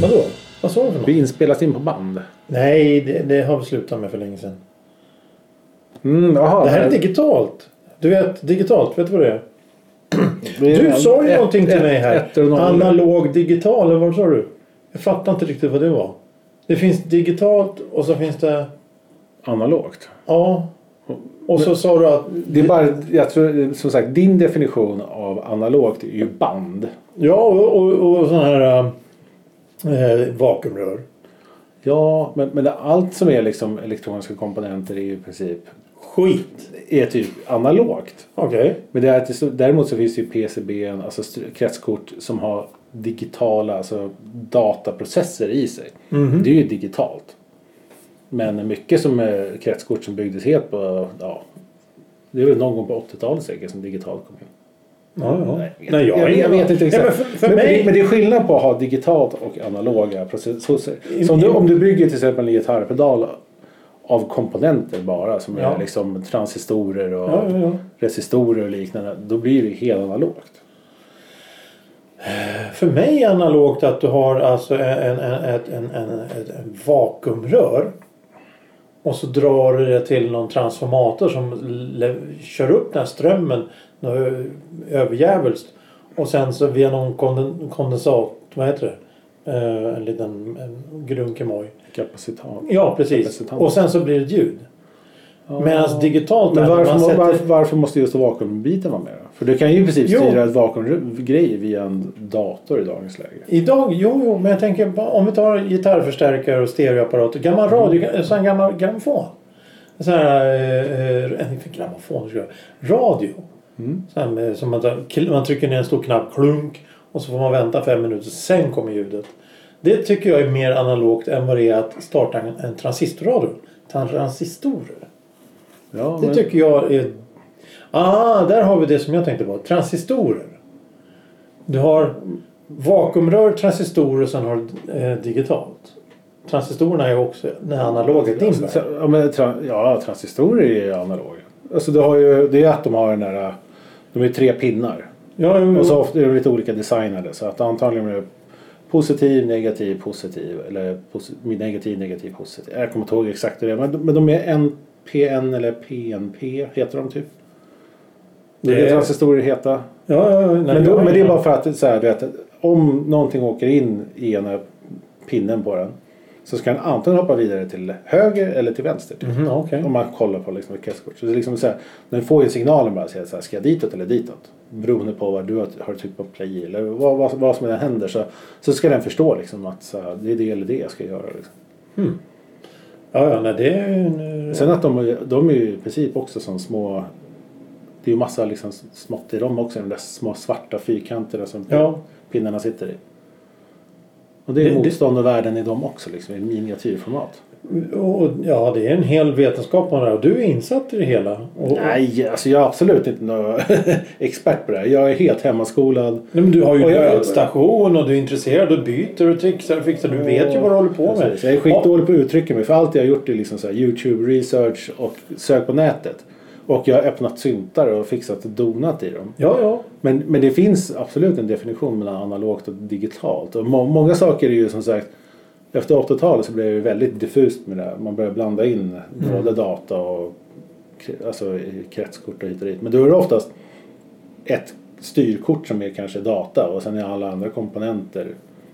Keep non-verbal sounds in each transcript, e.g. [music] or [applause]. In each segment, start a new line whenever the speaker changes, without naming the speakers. Vadå?
Vad sa du för något?
Vi inspelas in på band.
Nej, det, det har vi slutat med för länge sedan.
Mm, aha,
Det här är digitalt. Du vet, digitalt. Vet du vad det är?
det är
Du
en-
sa ju
ett-
någonting till
ett-
mig här.
ett och noll.
Analog digital, eller vad sa du? Jag fattar inte riktigt vad det var. Det finns digitalt och så finns det...
Analogt.
Ja. Och så sa du att...
Det är bara, jag tror, som sagt, din definition av analogt är ju band.
Ja, och, och, och sådana här... Eh, vakuumrör.
Ja, men, men det- allt som är liksom elektroniska komponenter är ju i princip
Skit!
är typ analogt.
Okej.
Men det är, att det så- däremot så finns det ju PCB, alltså str- kretskort som har digitala alltså dataprocesser i sig.
Mm. Mhm.
Det är ju digitalt. Men mycket som är kretskort som byggdes helt på, ja, det är väl någon gång på 80-talet säkert som digitalt kom in.
Ja, ja.
Nej, jag vet
Nej,
inte. jag,
ingen
jag
aning.
vet inte exakt.
Nej, men för, för
men,
mig...
det, men det är skillnad på att ha digitalt och analoga processorer.
I-
Så om,
i-
du, om du bygger till exempel en gitarrpedal av komponenter bara som
Ja.
är liksom transistorer och
Ja, ja, ja.
resistorer och liknande. Då blir det ju helt analogt.
För mig är analogt att du har alltså en, en, en, ett- en, en, ett- en vakuumrör och så drar du det till någon transformator som le- kör upp den här strömmen nå- överjävulst och sen så via någon konden- kondensat, vad heter det? Eh, En liten en grunkemoj.
Kapacitat.
Ja precis.
Kapacitant.
Och sen så blir det ett ljud. Medan digitalt
Men
är när
varför,
man sätter-
varför, varför måste just vakuumbiten vara med då? För du kan ju i princip
Jo.
styra ett vakuumgrej via en dator i dagens läge.
Idag, jo, jo, men jag tänker bara- om vi tar gitarrförstärkare och stereoapparat. och Gammal radio, sån här gammal grammofon. Sån här, eh, eh, inte grammofon, ska jag säga. radio.
Mm.
Sån här med, som man, tar- kl- man trycker ner en stor knapp, klunk, och så får man vänta fem minuter, sen kommer ljudet. Det tycker jag är mer analogt än vad det är att starta en, en transistorradio. Transistorer.
Ja,
Det
men-
tycker jag är... Ah, där har vi det som jag tänkte på. Transistorer. Du har vakuumrör, transistorer och sen har du eh, digitalt. Transistorerna är också den här analoga din
Alltså,
värld.
tra- ja, men, tra- ja, transistorer är ju analoga. Alltså, du har ju, det är att de har den där... äh, De är ju tre pinnar.
Ja, jo, jo.
Och så ofta är de lite olika designade. Så att antagligen är det positiv, negativ, positiv. Eller posi- negativ, negativ, positiv. Jag kommer inte ihåg exakt hur det är. Men, de- men de är NPN eller PNP heter de typ. Det är
Det
det
är-
transistorer heta.
ja, ja, ja, nej,
Men,
jag
då,
har
men det är
ingen-
bara för att så här, du vet, om någonting åker in i ena pinnen på den. Så ska den antingen hoppa vidare till höger eller till vänster. Typ.
Mhm, okej.
Om man kollar på liksom ett kesskort. Så det är liksom så här, den får ju signalen bara säga så här, ska jag ditåt eller ditåt? Beroende på vad du har, har typ på play eller vad, vad, vad som än händer så, så ska den förstå liksom att så här, det är det eller det jag ska göra. Liksom.
Ja, ja, nej, det är ju... en- eh,
Sen att de, är- de är ju i princip också som små det är ju massa liksom smått i dem också, de där små svarta fyrkanterna som
Ja.
pinnarna sitter i. Och det är
Det- det-
motstånd och värden i dem också, liksom, i miniatyrformat.
Och, och- ja, det är en hel vetenskap om det här. Och du är insatt i det hela. Och,
Nej, alltså jag är absolut inte någon [laughs] expert på det här. Jag är helt hemmaskolad.
Nej, men du har ju
Och jag-
station och du är intresserad och byter och trixar och fixar. Du vet ju vad du håller på med.
Precis. Jag är skitdålig på att uttrycka mig för allt jag har gjort är liksom så här Youtube research och sök på nätet. Och jag har öppnat syntar och fixat och donat i dem.
Ja, ja.
Men, men det finns absolut en definition mellan analogt och digitalt. Och må, många saker är ju som sagt efter 80-talet så blev det ju väldigt diffust med det här. Man började blanda in både data och k- alltså, i kretskort och hit och dit. Men då är det oftast ett styrkort som är kanske data och sen är alla andra komponenter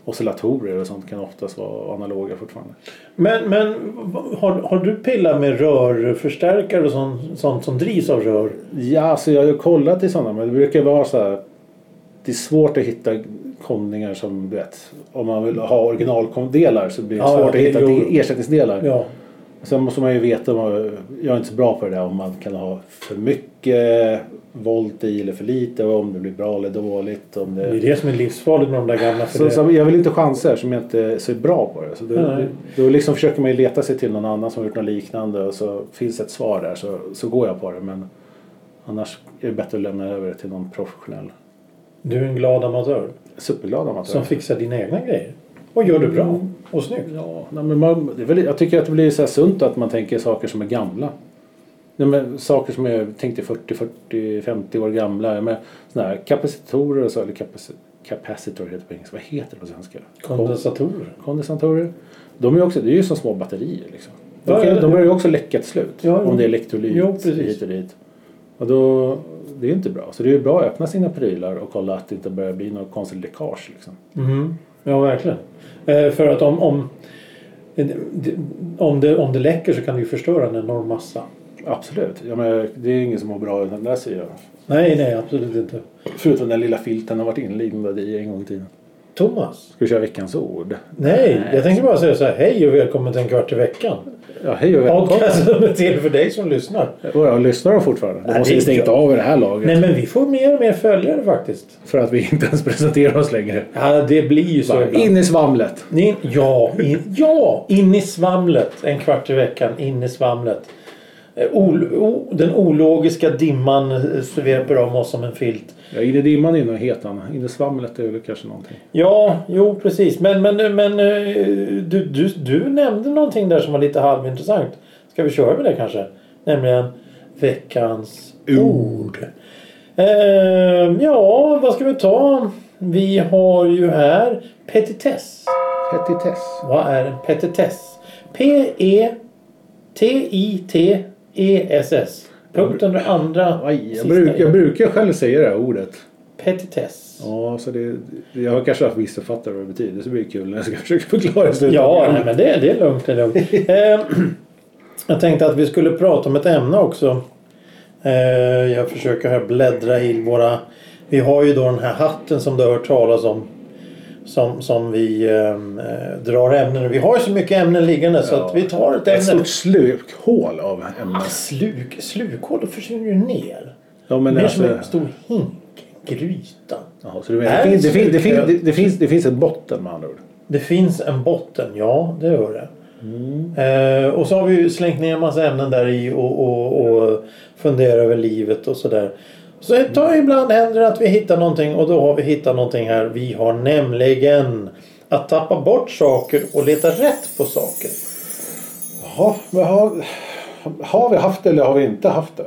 oscillatorer och sånt kan oftast vara analoga fortfarande.
Men, men v- har, har du pillat med rörförstärkare och sånt, sånt som drivs av rör?
Ja, alltså jag har ju kollat i sådana men det brukar vara så här. Det är svårt att hitta komningar som du vet. Om man vill ha originaldelar så blir det
Ja,
svårt
ja,
att
det-
hitta
jo.
till ersättningsdelar.
Ja.
Sen måste man ju veta, om man- jag är inte så bra på det där, om man kan ha för mycket volt i eller för lite och om det blir bra eller dåligt. Om
Det är
det...
det som är livsfarligt med de där gamla. För
Så,
det.
så jag vill inte chansa eftersom jag inte är så bra på det. Så då,
Nej.
då liksom försöker man ju leta sig till någon annan som har gjort något liknande och så finns ett svar där så, så går jag på det. Men annars är det bättre att lämna över det till någon professionell.
Du är en glad amatör.
Superglad amatör.
Som fixar dina egna grejer. Och gör det bra
Mm.
och snyggt.
Ja, nej, men man, det är väl, jag tycker att det blir så här sunt att man tänker saker som är gamla. Nej, men saker som är tänkte 40, 40, 50 år gamla. Men såna här kapacitorer och så, eller kapaci- capacitor heter det på engelska. Vad heter det på svenska?
Kondensatorer.
Kondensatorer. De är, ju också, det är ju som små batterier liksom. De,
Ja,
kan,
ja, ja.
de börjar ju också läcka till slut.
Ja, ja.
Om det är elektrolyt
Jo, precis.
hit och dit. Och då, det är ju inte bra. Så det är ju bra att öppna sina prylar och kolla att det inte börjar bli något konstigt läckage. Liksom.
Mm. Ja, verkligen. Eh, för att om, om, det- om, det, om det läcker så kan det ju förstöra en enorm massa.
Absolut. Ja, men det är ingen som mår bra av den där syran.
Nej, nej, absolut inte.
Förutom den lilla filten har varit inlindad i en gång i tiden.
Thomas?
Ska vi köra veckans ord?
Nej, jag tänkte bara säga så här. Hej och välkommen till en kvart i veckan.
Ja, hej och välkommen.
Podcast som är till för dig som lyssnar.
Våra lyssnar de fortfarande? De
Nej,
måste
det
ju
är
stängt
inte-
av i det här laget.
Nej, men vi får mer och mer följare faktiskt.
För att vi inte ens presenterar oss längre.
Ja, det blir ju så
Bara
ibland.
in i svamlet.
Ni- ja, in, ja, in i svamlet. En kvart i veckan, in i svamlet. Eh, Ol, o, den ologiska dimman eh, sveper om oss som en filt.
Ja, in i dimman in och hetan. In i svamlet är väl kanske någonting.
Ja, jo precis. Men, men, men eh, du, du, du nämnde någonting där som var lite halvintressant. Ska vi köra med det kanske? Nämligen veckans ord. Ehm, ja, vad ska vi ta? Vi har ju här petitess.
Petitess.
Vad är en petitess? E P-E-T-I-T-E-S-S. Punkten och andra
Aj, jag,
sista
bruk, jag
i.
brukar själv säga det här ordet.
Petitess.
Ja, så det, jag har kanske haft missuppfattat vad det betyder. Så det blir kul när jag ska [laughs] försöka förklara i slutet.
Ja, nej, men det, det är lugnt. Det är
[laughs]
lugnt. Ehm, jag tänkte att vi skulle prata om ett ämne också. Ehm, jag försöker här bläddra i våra... Vi har ju då den här hatten som du har hört talas om. Som, som vi ehm, eh, drar ämnen ur. Vi har ju så mycket ämnen liggande så
Ja.
att vi tar ett ämne.
Ett stort slukhål av ämnen.
Sluk, slukhål, då försvinner ju ner.
Ja, men
Mer
alltså-
som en stor hink, gryta.
Jaha, så du menar,
Är
det, finns, det,
det
finns, det, finns,
slukhål?
det, det, finns, det finns ett botten med andra ord.
Det finns en botten, ja det gör det. Eh, och så har vi ju slängt ner en massa ämnen där i och, och, och funderar över livet och sådär. Så ett tag ibland händer det att vi hittar någonting och då har vi hittat någonting här. Vi har nämligen att tappa bort saker och leta rätt på saker.
Jaha, men har, har vi haft det eller har vi inte haft det?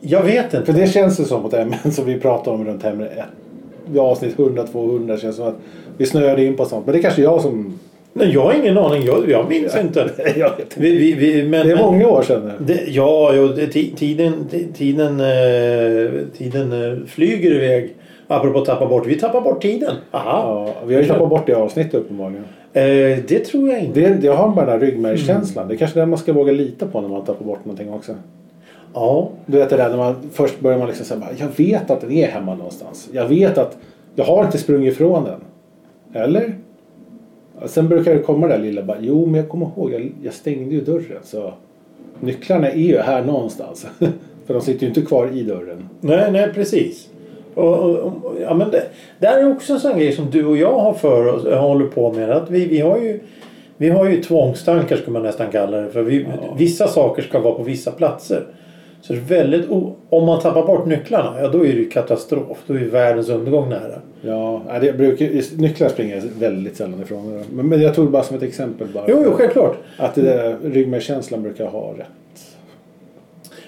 Jag vet
För
inte.
det känns ju som ett ämnen som vi pratar om runt ämne ett. I avsnitt 100-200 känns som att vi snöade in på sånt. Men det är kanske jag som...
Nej, jag har ingen aning. Jag, jag minns inte.
[laughs] Jag vet
Vi, vi, vi, men,
Det är
men-
många år sedan nu.
Det, ja, jo, det, ti- tiden, ti- tiden, eh, tiden eh, flyger iväg. Apropå tappa bort. Vi tappar bort tiden. Aha.
Ja, vi har ju tappat bort det avsnittet uppenbarligen.
Eh, det tror jag inte.
Det, jag har bara den här ryggmärgskänslan. Det är kanske är den man ska våga lita på när man tappar bort någonting också.
Ja.
Du vet det där när man först börjar man liksom säga bara, jag vet att den är hemma någonstans. Jag vet att jag har inte sprungit ifrån den. Eller? Ja, Sen brukar det komma det där lilla bara, jo men jag kommer ihåg, jag, jag stängde ju dörren så nycklarna är ju här någonstans. [laughs] För de sitter ju inte kvar i dörren.
Nej, nej, precis. Och, och, och, ja, men det, där är också en sån grej som du och jag har för oss, eh, håller på med. Att vi, vi, har ju, vi har ju tvångstankar skulle man nästan kalla det. För vi, Vissa saker ska vara på vissa platser. Så det är väldigt, o- om man tappar bort nycklarna, ja då är det ju katastrof. Då är ju världens undergång nära.
Ja, nej, det brukar, nycklar springer jag väldigt sällan ifrån. den. Men, men jag tog det bara som ett exempel bara.
Jo, jo, självklart.
Att det där ryggmärgskänslan brukar ha rätt.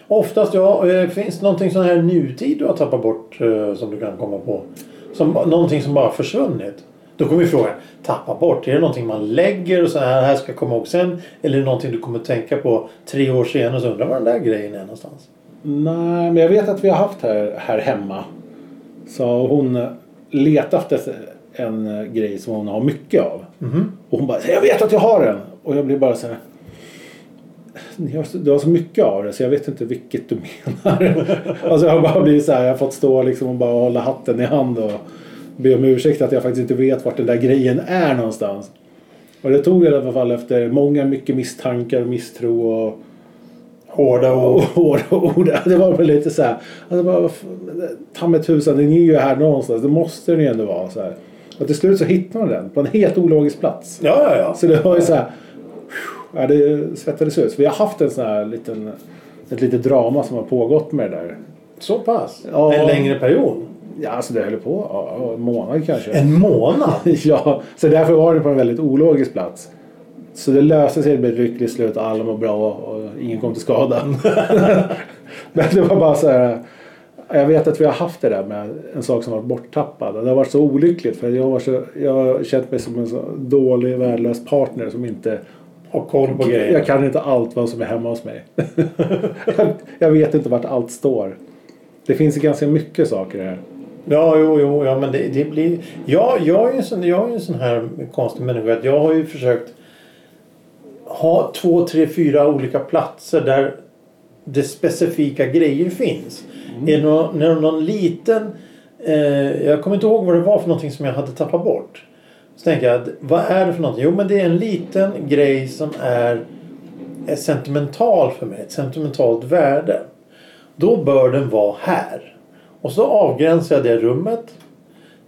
Oftast ja. Eh, Finns det någonting sån här nutid du har tappat bort eh, som du kan komma på? Som, någonting som bara har försvunnit? Då kommer ju frågan, tappa bort, är det någonting man lägger och så här, här ska jag komma ihåg sen? Eller är det någonting du kommer tänka på tre år senare och så undrar var den där grejen är någonstans?
Nej, men jag vet att vi har haft här, här hemma. Så hon letar efter en grej som hon har mycket av. Och hon bara, jag vet att jag har den! Och jag blir bara så här. [laughs] "Ni har så- Du har så mycket av det så jag vet inte vilket du menar. [laughs] alltså jag har bara blivit så här, jag har fått stå liksom och bara hålla hatten i hand och be om ursäkt att jag faktiskt inte vet vart den där grejen är någonstans. Och det tog i alla fall efter många, mycket misstankar och misstro och
Hårda
och [laughs]
ord.
hår och ord. Det var väl lite så här. Alltså bara, vad fan, ta mig tusan, den är ju här någonstans. Det måste den ju ändå vara. Så här. Och till slut så hittar man den på en helt ologisk plats.
Ja, ja, ja.
Så det var ju så här. Ja, det svettades ut. Så vi har haft en sån här liten, ett litet drama som har pågått med det där.
Så pass?
Ja.
En längre period?
Ja, alltså det höll på ja, ja, en månad kanske.
En månad?
[laughs] ja, så därför var det på en väldigt ologisk plats. Så det löste sig med ett lyckligt slut alla mår bra och ingen kom till skada. [laughs] Men det var bara så här. Jag vet att vi har haft det där med en sak som varit borttappad. Det har varit så olyckligt för jag, var så, jag har känt mig som en så dålig, värdelös partner som inte
Och koll på grejer.
jag kan inte allt vad som är hemma hos mig. [laughs] jag, jag vet inte vart allt står. Det finns ju ganska mycket saker här.
Ja, jo, jo, ja, men det, det blir... Ja, jag är ju en sån, jag är ju en sån här konstig människa att jag har ju försökt ha två, tre, fyra olika platser där det specifika grejer finns. Är det någon, när någon liten... Eh, jag kommer inte ihåg vad det var för någonting som jag hade tappat bort. Så tänker jag, vad är det för någonting? Jo, men det är en liten grej som är, är sentimental för mig. Ett sentimentalt värde. Då bör den vara här. Och så avgränsar jag det rummet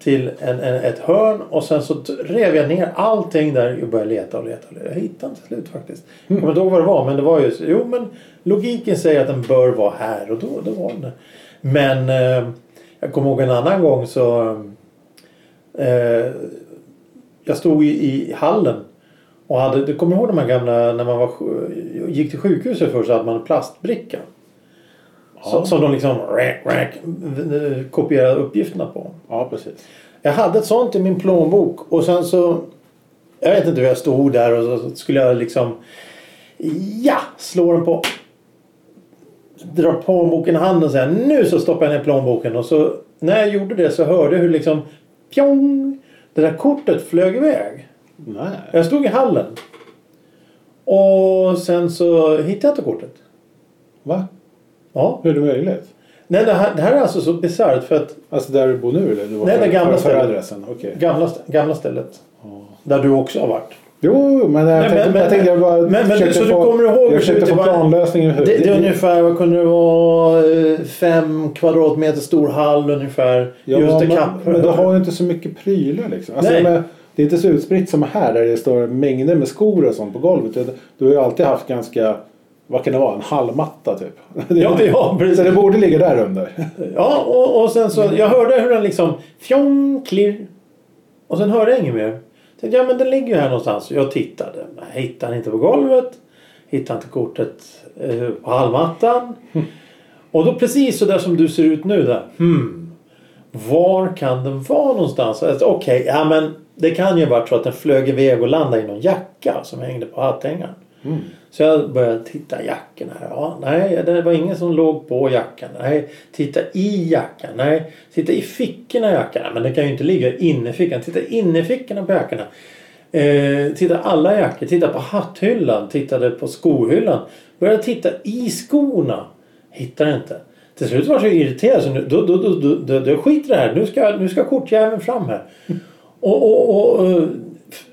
till en, en, ett hörn och sen så t- rev jag ner allting där och började leta och leta. Jag hittade inte slut faktiskt. Jag kommer inte ihåg vad det var men det var ju jo men logiken säger att den bör vara här och då, då var den det. Men eh, jag kommer ihåg en annan gång så eh, jag stod i, i hallen och hade, du kommer ihåg de här gamla när man var, sj- gick till sjukhuset först så hade man en plastbricka. Som, som de liksom rack, rack, kopierade uppgifterna på.
Ja, precis.
Jag hade ett sånt i min plånbok och sen så... Jag vet inte hur jag stod där och så skulle jag liksom... Ja! Slå den på... Dra plånboken i handen och säga nu så stoppar jag ner plånboken och så... När jag gjorde det så hörde jag hur liksom... Pjong! Det där kortet flög iväg.
Nej.
Jag stod i hallen. Och sen så hittade jag inte kortet.
Va?
Ja.
Hur är det möjligt?
Nej, det här, det här är alltså så bisarrt för att
Alltså där du bor nu eller? Du var
Nej, det
för-
gamla
för- för
stället.
adressen, okej.
gamla, st- gamla stället. Där du också har varit.
Jo, men jag
Nej,
tänkte,
men-
jag tänkte jag bara
men- men-
försökte
så du
få,
kommer ihåg hur
jag försökte
det
få
var-
planlösningen i
Det,
huvudet.
det är ungefär, vad kunde det vara, eh, fem kvadratmeter stor hall ungefär.
Ja,
just det
men,
kapp.
men det har ju inte så mycket prylar liksom. Alltså,
Nej.
de är- det är inte så utspritt som här där det står mängder med skor och sånt på golvet. Du- Du har ju alltid haft ganska, vad kan det vara, en halmmatta typ.
[laughs]
[laughs]
Ja, ja,
Så
precis.
det borde ligga där under.
Ja, och, och sen så, jag hörde hur den liksom, fjong, klirr. Och sen hörde jag inget mer. Tänkte, ja men den ligger ju här någonstans. Jag tittade, men jag hittade den inte på golvet. Hittade inte kortet eh, på hallmattan.
Hm.
Och då precis så där som du ser ut nu där. Hmm. Var kan den vara någonstans? Alltså, Okej, ja men det kan ju ha varit så att den flög iväg och landade i någon jacka som hängde på hatthängaren. Så jag började titta i jackan här. Ja, nej, det var ingen som låg på jackan. Nej, titta i jackan. Nej, titta i fickorna i jackan. Nej, Men det kan ju inte ligga inne i fickan. Titta inne i fickorna på jackorna. Eh, titta alla jackor. Titta på hatthyllan. Tittade på skohyllan. Började titta i skorna. Hittar inte. Till slut var jag så irriterad så nu, då, då, då, då, då, då skiter det här. Nu ska, nu ska kortjäveln fram här. Och, och, och eh, f-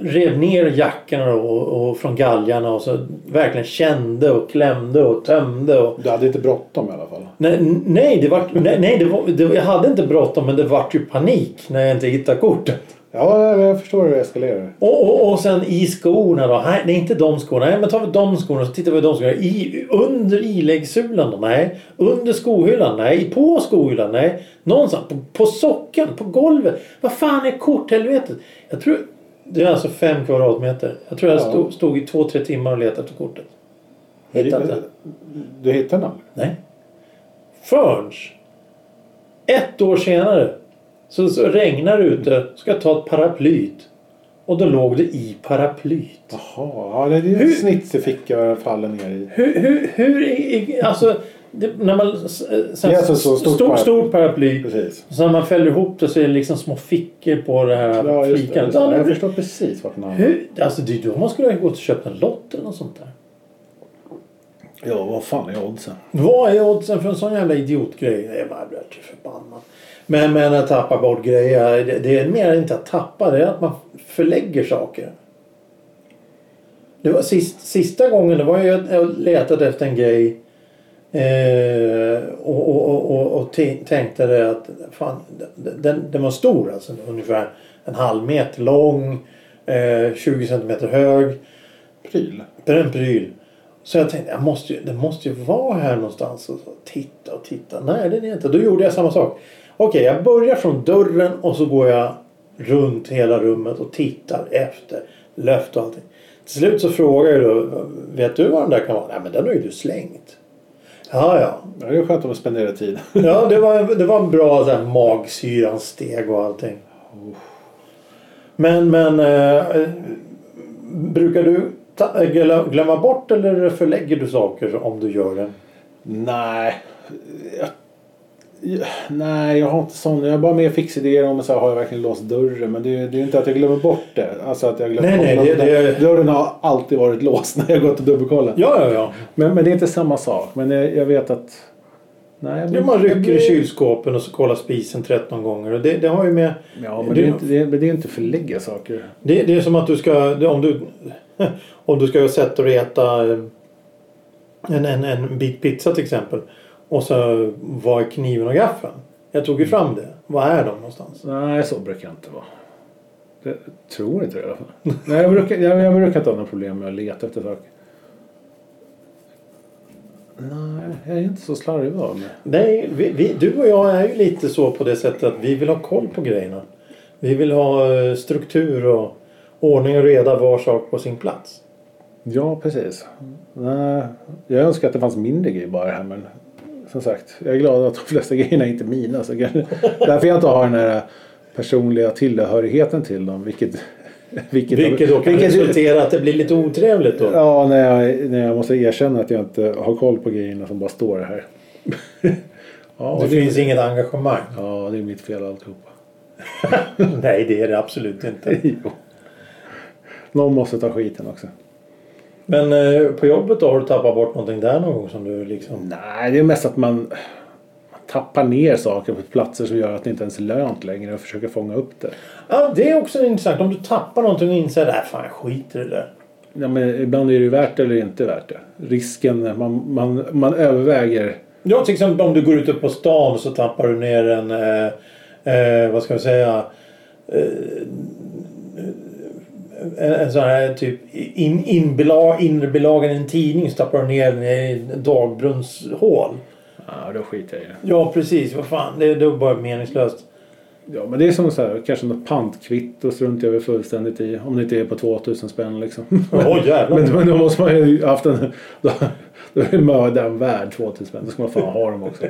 rev ner jackorna då, och, och från galgarna och så verkligen kände och klämde och tömde. Och,
Du hade inte bråttom i alla fall.
nej, n- nej, det var, nej, nej det var, det, jag hade inte bråttom men det vart ju panik när jag inte hittade kortet.
Ja, jag- jag förstår hur det eskalerar.
Och, och, och sen i skorna då. Nej, det är inte de skorna. Nej, men tar vi de skorna så tittar vi på de skorna. I, under iläggssulan då? Nej. Under skohyllan? Nej. På skohyllan? Nej. Någonstans. På, på sockan? På golvet? Vad fan är korthelvetet? Jag tror... Det är alltså fem kvadratmeter. Jag tror jag
Ja.
stod, stod i två, tre timmar och letade efter kortet. Hittade inte.
Du hittade den?
Nej. Förrän ett år senare så, så regnar det ute. Ska jag ta ett paraplyt. Och då låg det i paraplyt.
Jaha, ja, det är ju
Hur-
en snitsig ficka jag faller ner i.
Hur, hur, hur i- i- alltså, det, när man... s- Så,
Det är alltså så stort
stort,
paraply.
stort paraply.
Precis.
Så när man fäller ihop det så är det liksom små fickor på det här
Ja, just det.
flikan.
Just det.
Ja,
Jag
men-
förstår precis vart den hamnar.
hur, alltså det är då man skulle ha gått och köpt en lott eller något sånt där.
Ja, vad fan är oddsen?
Vad är oddsen för en sån jävla idiotgrej? Jag bara blir så förbannad. Men, men att tappa bort grejer, det, det är mer inte att tappa, det är att man förlägger saker. Det var sist, sista gången, det var ju att jag letade efter en grej eh, och, och, och, och, och t- tänkte det att fan, den- den, den var stor alltså, ungefär en halv meter lång, eh, 20 centimeter hög.
Pryl.
Det är en pryl. Så jag tänkte, jag måste ju, den måste ju vara här någonstans. Och så titta och titta. Nej, den är inte. Då gjorde jag samma sak. Okej, jag börjar från dörren och så går jag runt hela rummet och tittar efter löft och allting. Till slut så frågar jag då, vet du vad den där kan vara? Nej men den har ju du slängt. Ja, ja.
Ja, det är skönt att spendera tid.
Ja, det var, det var en bra så här, magsyrans steg och allting. Men, men. Eh, brukar du ta, glö- glömma bort eller förlägger du saker om du gör det?
[laughs] Nej. Jag, jag, nej, jag har inte sån. Jag har bara mer fixidéer om så här, har jag verkligen låst dörren. Men det, är- det är ju inte att jag glömmer bort det. Alltså att jag glömmer
Nej,
bort
nej,
något.
det- det-
Dörren har alltid varit låst när jag gått och dubbelkollat.
Ja, ja, ja.
Men, men det är inte samma sak. Men jag, jag vet att... Nej, jag
Jo,
blir-
man
jag
rycker
blir-
i kylskåpen och så kollar spisen 13 gånger. Och det, det har ju med...
Ja, men det är ju inte, det är, det är inte förlägga saker.
Det, det är som att du ska... det- Om du, [laughs] om du ska sätta dig och äta eh, en, en, en bit pizza till exempel. Och så var är kniven och gaffeln? Jag tog ju fram det. Var är de någonstans?
Nej, så brukar jag inte vara. Det, jag tror inte det i
[laughs]
alla fall. Nej, jag brukar, jag, jag brukar inte ha några problem med att leta efter saker. Nej, jag är inte så slarvig av mig.
Nej, vi, vi, du och jag är ju lite så på det sättet att vi vill ha koll på grejerna. Vi vill ha eh, struktur och ordning och reda var sak på sin plats.
Ja, precis. Nej, jag önskar att det fanns mindre grejer bara här men som sagt, jag är glad att de flesta [laughs] grejerna är inte mina. Så kan, därför jag inte har den här personliga tillhörigheten till dem. Vilket, vilket,
Vilket då kan
vilket-
resultera att det blir lite otrevligt då.
Ja, när jag, när jag måste erkänna att jag inte har koll på grejerna som bara står här. [laughs] ja,
Det
och det,
finns inget engagemang.
ja, det är mitt fel alltihopa.
Nej, det är det absolut inte.
Jo. Någon måste ta skiten också.
Men eh, på jobbet då, har du tappat bort någonting där någon gång som du liksom...
Nej, det är mest att man, man tappar ner saker på platser som gör att det inte ens är lönt längre och försöker fånga upp det.
Ja, det är också intressant. Om du tappar någonting och inser att fan jag skiter i det där.
Ja, men ibland är det ju värt det eller inte värt det. Risken, man, man, man överväger.
Ja, till exempel om du går ute på stan så tappar du ner en, eh, eh, vad ska vi säga, eh, en, en sån här typ in, inbelag, inre belagan i en tidning så tappar du ner den i dagbrunnshål.
Ja, då skiter jag i det.
Ja, precis. Vad fan, det, det är bara meningslöst.
Ja, men det är som så här, kanske något pantkvitto struntar jag väl fullständigt i. Om det inte är på 2000 spänn liksom.
Åh jävlar.
Men, men då måste man ju haft en... Då, då är mördaren värd 2000 spänn. Då ska man fan ha dem [laughs] också.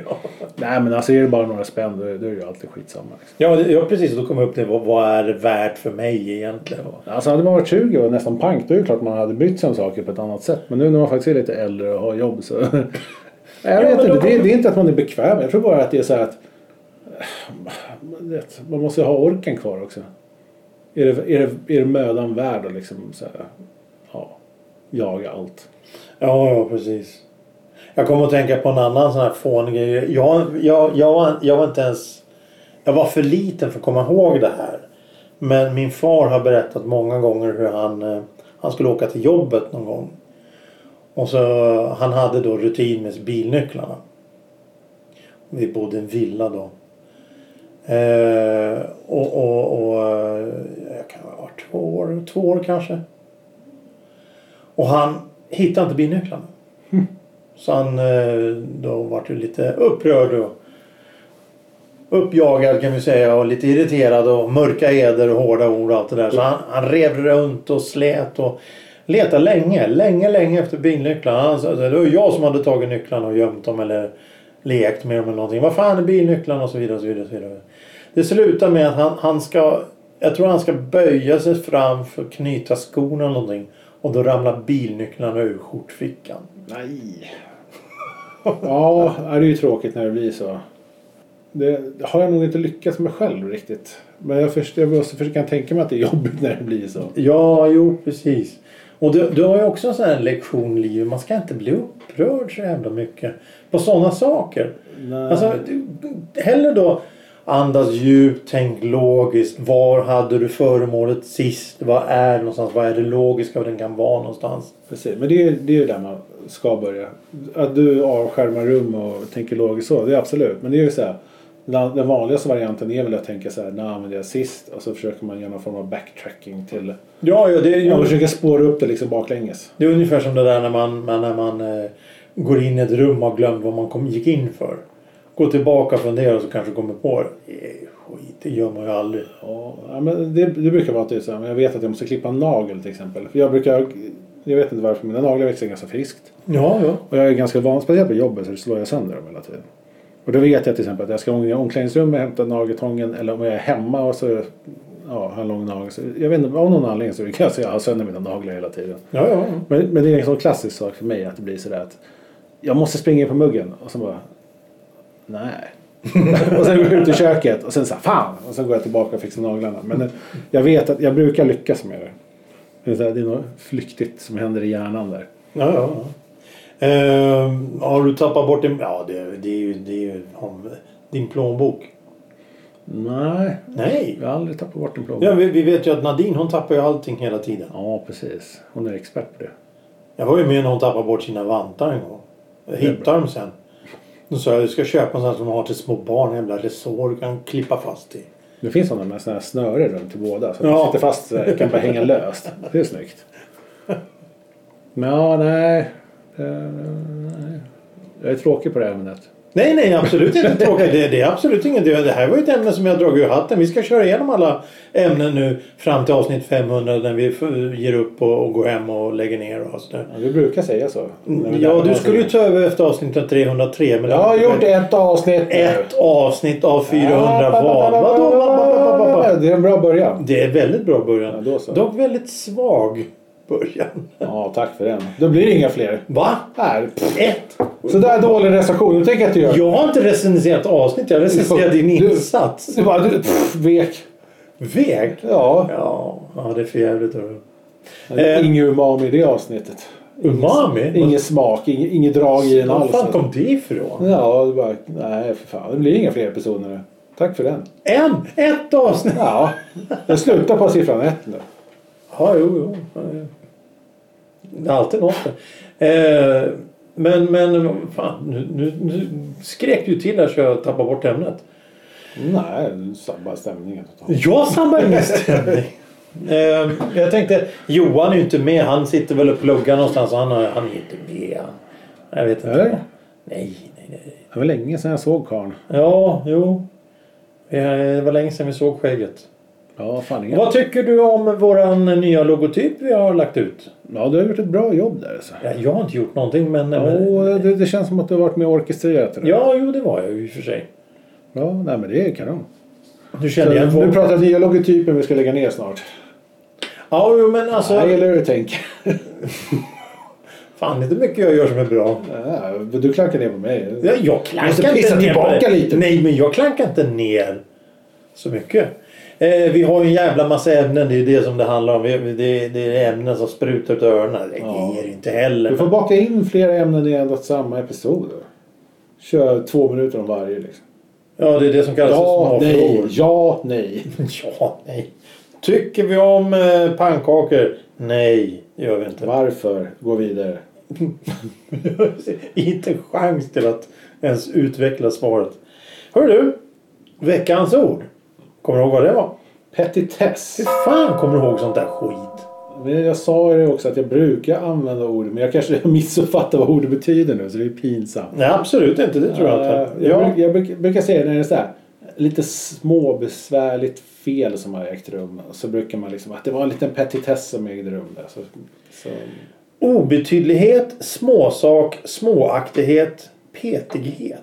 Nej men alltså är det bara några spänn då, är- då är det ju alltid skitsamma. Liksom.
Ja, det- ja precis. Då kommer jag upp till vad, vad är det värt för mig egentligen?
Alltså hade man varit 20 och nästan pank då är det klart man hade brytt sig om saker på ett annat sätt. Men nu när man faktiskt är lite äldre och har jobb så... [laughs] Nej, Jag
Ja,
vet
men då
inte. Det, är-
kommer-
det är inte att man är bekväm. Jag tror bara att det är så här att... [sighs] eh, vet, Man måste ju ha orken kvar också. Är det, är det, är det mödan värd att liksom så här, ja, jaga allt?
Ja, ja precis. Jag kommer att tänka på en annan sån här fånig grej. Jag, jag, jag, var, jag var inte ens... Jag var för liten för att komma ihåg det här. Men min far har berättat många gånger hur han, eh, han skulle åka till jobbet någon gång. Och så, han hade då rutin med bilnycklarna. Vi bodde i en villa då. Eh, och, och, och eh, jag kan ha varit två år, två år kanske. Och han hittade inte bilnycklarna. Så han eh, då vart ju lite upprörd och uppjagad kan vi säga och lite irriterad och mörka eder och hårda ord och allt det där. Så han, han rev runt och slet och letade länge, länge, länge efter bilnycklarna. Han sa, det var ju jag som hade tagit nycklarna och gömt dem eller lekt med dem eller någonting. Vad fan är bilnycklarna och så vidare och så vidare. Och så vidare. Det slutar med att han, han ska, jag tror han ska böja sig fram för att knyta skorna eller någonting. Och då ramlar bilnycklarna ur skjortfickan.
Nej. [laughs] ja, det är ju tråkigt när det blir så. Det har jag nog inte lyckats med själv riktigt. Men jag, först, jag måste försöka tänka mig att det är jobbigt när det blir så.
Ja, jo precis. Och du, du har ju också en sån här lektion i livet. Man ska inte bli upprörd så jävla mycket på sådana saker.
Nej.
Alltså, du, du- hellre då andas djupt, tänk logiskt. Var hade du föremålet sist? Vad är det någonstans? Vad är det logiska? Vad den kan vara någonstans?
Precis. Men det är, det är ju där man ska börja. Att du avskärmar rum och tänker logiskt så, det är absolut. Men det är ju så här. Den den vanligaste varianten är väl att tänka så här, när använde jag sist? Och så försöker man göra någon form av backtracking till...
Ja, ja det är
Man försöker spåra upp det liksom baklänges.
Det är ungefär som det där när man, man, när man eh, går in i ett rum och har glömt vad man kom, gick in för. gå tillbaka och fundera och så kanske kommer på det. Eh, Skit, det gör man ju aldrig.
Ja, ja, men det, det brukar vara att det är så här, men jag vet att jag måste klippa en nagel till exempel. För jag brukar, jag vet inte varför, mina naglar växer ganska friskt.
Ja, ja.
Och jag är ganska van, speciellt på jobbet så slår jag sönder dem hela tiden. Och då vet jag till exempel att jag ska i omklädningsrummet och hämta nageltången eller om jag är hemma och så ja, har en lång nagel. Så jag vet inte, av någon anledning så kan jag säga att jag har sönder mina naglar hela tiden.
ja, ja. ja.
Men, men det är en sån klassisk sak för mig att det blir sådär att jag måste springa in på muggen och så bara nej. [laughs] och sen går jag ut i köket och sen så här, fan! Och sen går jag tillbaka och fixar naglarna. Men eh, jag vet att jag brukar lyckas med det. Det är så här, Det är något flyktigt som händer i hjärnan där.
ja, ja. Eh, har du tappat bort din... Ja, det, det är ju, det är ju om, din plånbok.
Nej,
Nej!
jag har aldrig tappat bort en plånbok.
Ja, vi, vi vet ju att Nadine hon tappar ju allting hela tiden.
Ja, precis. Hon är expert på det.
Jag var ju med när hon tappade bort sina vantar en gång. Jag hittade dem sen. Då sa jag, du ska köpa en sån här som man har till små barn. En jävla resår du kan klippa fast i.
Det finns sådana med såna här snöre runt till båda. Så
Ja.
att de sitter fast så här, kan bara hänga löst. Det är snyggt. Men ja, nej. Eh, nej. Jag är tråkig på det här ämnet.
Nej, nej, absolut inte tråkigt. Det, det är absolut inget. Det det här var ju ett ämne som jag dragit ur hatten. Vi ska köra igenom alla ämnen nu fram till avsnitt 500 när vi f- ger upp och, och går hem och lägger ner oss nu.
Ja, vi brukar säga så. När vi
Mm, Ja,
lärde
du
oss
skulle ju
det.
ta över efter avsnittet 303. Men
Jag har gjort ett avsnitt nu.
ett avsnitt av 400
Ja,
val. Vadå?
Det är en bra början.
Det är väldigt bra början.
Ja, då så.
Dock väldigt svag början.
Ja, tack för den. Då blir det inga fler.
Va?
Här.
Ett?
Så där dålig recension. Nu tänker jag att du gör.
Jag har inte recenserat avsnitt, jag recenserar din
[laughs] Du-
insats.
Du bara, du, pff, vek.
Väg?
Ja.
Ja, ja, det är för jävligt. hörru.
Det är
Eh.
Ingen umami i det avsnittet.
Umami?
Ingen smak, ingen, inget drag i den
Var
alls.
fan kom det ifrån?
Ja, det bara, nej för fan. Det blir inga fler episoder nu. Tack för den.
En! Ett avsnitt!
Ja, jag slutar på siffran ett nu.
Ja, jo, jo. Det är alltid något. Eh, men, men fan, nu, nu, nu skrek du till där så jag tappade bort ämnet.
Nej, du sabbar stämningen totalt.
Jag sabbar min stämning. Eh, jag tänkte, Johan är ju inte med. Han sitter väl och pluggar någonstans. Han, har, han är ju inte med. han. Jag vet inte.
Är det?
Nej, nej, nej.
Det var länge sedan jag såg karln.
Ja, jo. Eh, Det var länge sedan vi såg skägget.
Ja, fan ingen.
Vad tycker du om våran nya logotyp vi har lagt ut?
Ja, du har gjort ett bra jobb där alltså.
Ja, jag har inte gjort någonting men... men
Och det, det känns som att du har varit med och orkestrerat det där.
ja, jo det var jag ju i och för sig.
ja, nej men det är kanon.
Nu känner jag...
Nu pratar vi nya logotypen vi ska lägga ner snart.
Ja, jo men alltså...
Jag gillar hur du tänker.
Fan, det är inte mycket jag gör som är bra.
Ja, du klankar ner på mig.
Jag, jag
måste
klankar inte
pissa
ner på
tillbaka
det.
lite.
Nej, men jag klankar inte ner så mycket. Eh, vi har ju en jävla massa ämnen. Det är ju det som det handlar om. Vi, vi- det, det är ämnen som sprutar ut öronen. Det
Ja.
ger inte heller.
Du får baka in flera ämnen i endast samma episod. då. Kör två minuter om varje liksom.
Ja, det är det som kallas
Ja,
för
nej,
smakfrågor.
ja, nej.
[laughs] Ja, nej. Tycker vi om eh, pannkakor? Nej, det gör vi inte.
Varför? Gå vidare.
[laughs] inte en chans till att ens utveckla svaret. Hör du, veckans ord. Kommer du ihåg vad det var?
Petitess.
Hur fan kommer du ihåg sånt där skit?
Men Jag sa ju det också att jag brukar använda ord men jag kanske [laughs] missuppfattar vad ordet betyder nu så det är pinsamt.
Nej, absolut inte. Det tror jag
Eh,
inte.
jag,
Ja.
bruk, jag bruk, brukar säga när det är så här lite små besvärligt fel som har ägt rum så brukar man liksom att det var en liten petitess som ägde rum där. Så, så,
Obetydlighet, småsak, småaktighet, petighet.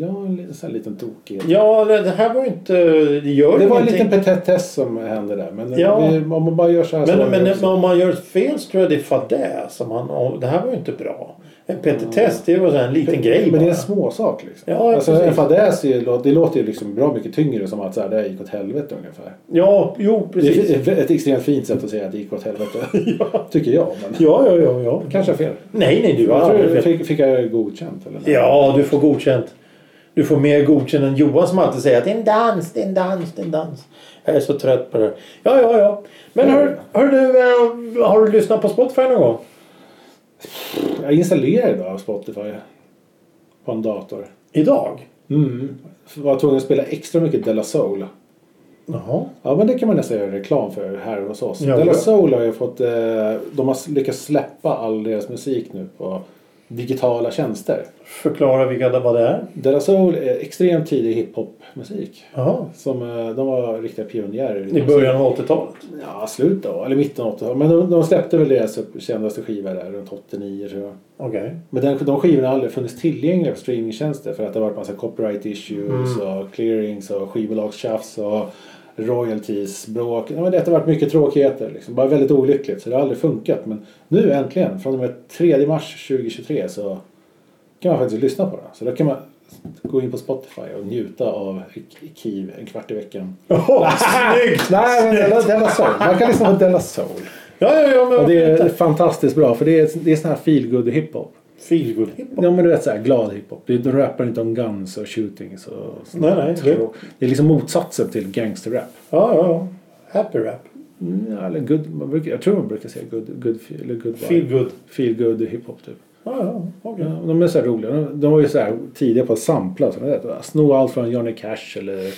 ja, en li- så här liten tokighet.
Ja, det det här var ju inte... Det gör
Det var en
ingenting.
liten petitess som hände där men
Ja.
vi, om man bara gör så här så
Men,
har vi
men
också-
om man gör ett fel så tror jag det är fadäs. Som han, om- det här var ju inte bra. En petitess, det var så här en liten grej
Mm. Men det är
bara.
en småsak liksom.
Ja,
alltså,
precis.
en fadäs är ju- det låter ju liksom bra mycket tyngre som att så här, det här gick åt helvete ungefär.
Ja, jo precis.
Det är ett extremt fint sätt att säga att det gick
[laughs]
åt helvete. [laughs] Tycker jag. Men
Ja, ja, ja. ja.
kanske har fel.
Nej, nej, du har
Jag tror,
aldrig fel.
fick, fick jag godkänt? Eller?
Ja, du får godkänt. Du får mer godkänt än Johan som alltid säger att det är en dans, det är en dans, det är en dans. Jag är så trött på det. Ja, ja, ja. Men hör, hör du, eh, har du lyssnat på Spotify någon gång?
Jag installerade bara Spotify på en dator.
Idag?
Mm. Var tvungen att spela extra mycket Della Soul.
Jaha.
Ja men det kan man nästan göra reklam för här hos oss.
Ja,
Della
ja.
Soul har ju fått... Eh, de har lyckats släppa all deras musik nu på digitala tjänster.
Förklara vilka det vad det är.
Della Soul är extremt tidig hiphopmusik.
Jaha.
Som, eh, de var riktiga pionjärer.
I början av 80-talet.
Ja, slut då. Eller mitten av 80-talet. Men de, de släppte väl deras kändaste skiva där runt 89 tror jag.
Okej.
Men den, de skivorna har aldrig funnits tillgängliga på streamingtjänster för att det har varit massa copyright issues och clearings och skivbolagstjafs och royaltiesbråk. Ja, men det har varit mycket tråkigheter. Liksom. Bara väldigt olyckligt så det har aldrig funkat. Men nu äntligen, från och med 3 mars 2023 så kan man faktiskt lyssna på den. Så då kan man gå in på Spotify och njuta av Kiv en kvart i veckan.
[laughs] Jaha, snyggt!
Nej, men Della, Della Soul. Man kan lyssna på Della Soul.
Ja, ja, ja. Men
Och
varför
det är
inte?
fantastiskt bra för det är, det är sån här feelgood hiphop.
Feelgood hiphop.
Ja men du vet såhär glad hiphop. Du du rappar inte om guns och shootings och sånt.
Nej, nej. Det, ja,
Det är liksom motsatsen till gangsterrap.
ja, ja. Happy rap.
Mm, ja, eller good, man brukar, jag tror man brukar säga good, good, feel- eller good vibe.
Feel good.
Feel good hiphop typ.
Ja, ja. Okej.
Ja, de är så här roliga. De, de var ju så här tidiga på att sampla. Så man vet, va? Sno allt från Johnny Cash eller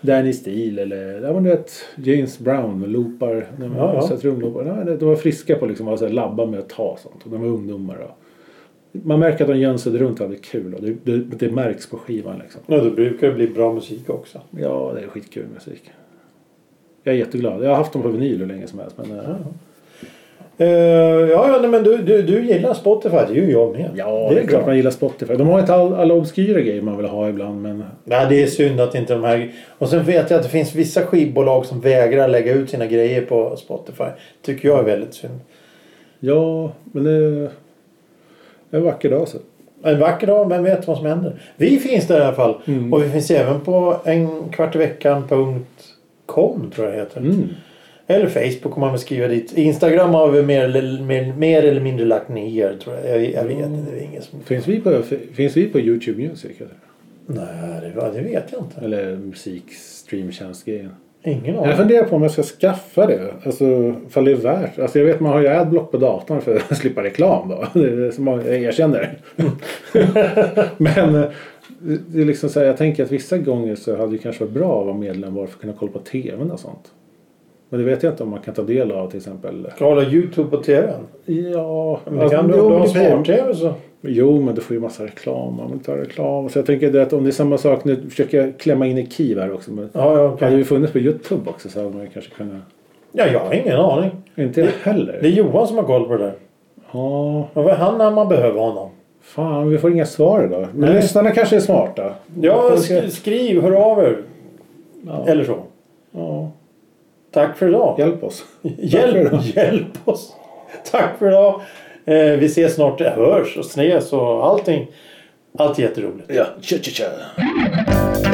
Danny Steele eller ja, men du vet, James Brown loopar. när man
Ja, ja.
sätter trumloopar. Ja, de- de var friska på liksom, att så här labba med att ta sånt. Och de var ungdomar. Och, man märker att de jönsade runt och hade kul. Och det, det, det märks på skivan liksom.
Ja, då brukar det bli bra musik också.
Ja, det är skitkul musik. Jag är jätteglad. Jag har haft dem på vinyl hur länge som helst. Men, eh,
Eh, ja, ja, nej, men du, du, du gillar Spotify. Det gör ju jag med.
ja, det är klart man gillar Spotify. De har inte all, alla obskyra grejer man vill ha ibland. Men
Nej, det är synd att inte de här... Och sen vet jag att det finns vissa skivbolag som vägrar lägga ut sina grejer på Spotify. Tycker jag är väldigt synd.
Ja, men det... Det är en vacker dag så.
En vacker dag, vem vet vad som händer? Vi finns där i alla fall.
Mm.
Och vi finns även på enkvartiveckan.com tror jag det heter.
Mm.
Eller Facebook om man vill skriva dit. Instagram har vi mer eller, mer, mer eller mindre lagt ner tror jag. Jag, jag vet
Mm.
inte. Det är ingen som...
Finns, vi på, finns vi på Youtube Music? Eller,
Nej, det, det vet jag inte.
eller musikstreamtjänstgrejen?
Ingen
Jag
aning.
funderar på om jag ska skaffa det. Alltså, ifall det är värt. Alltså, jag vet man har ju adblock på datorn för att [laughs] slippa reklam då. Det är så många, jag erkänner. [laughs] men eh, det är liksom så här, jag tänker att vissa gånger så hade det kanske varit bra att vara medlem bara för att kunna kolla på tvn och sånt. Men det vet jag inte om man kan ta del av till exempel.
Ska hålla Youtube på TVn?
Ja,
Men det kan du
jo,
om du har
det är-
smart-TV så.
Jo, men du får ju massa reklam. Om man tar reklam. Så jag tänker det att om det är samma sak. Nu försöker jag klämma in i Kiv här också. Men
Ja, ja,
hade
okej.
vi funnits på Youtube också så hade man ju kanske kunnat.
ja, jag har ingen aning.
Inte jag heller.
Det är Johan som har koll på det där.
Ja,
Och vad är han när man behöver honom?
fan vi får inga svar idag. Men
Nej.
lyssnarna kanske är smarta.
Ja,
Jag tänker-
sk- skriv, hör av er.
Ja.
Eller så.
ja,
Tack för idag.
hjälp oss.
Hjälp, [laughs] hjälp oss. Tack för idag. Eh, vi ses snart, hörs och ses och allting. Allt är jätteroligt.
Ja, tja tja tja.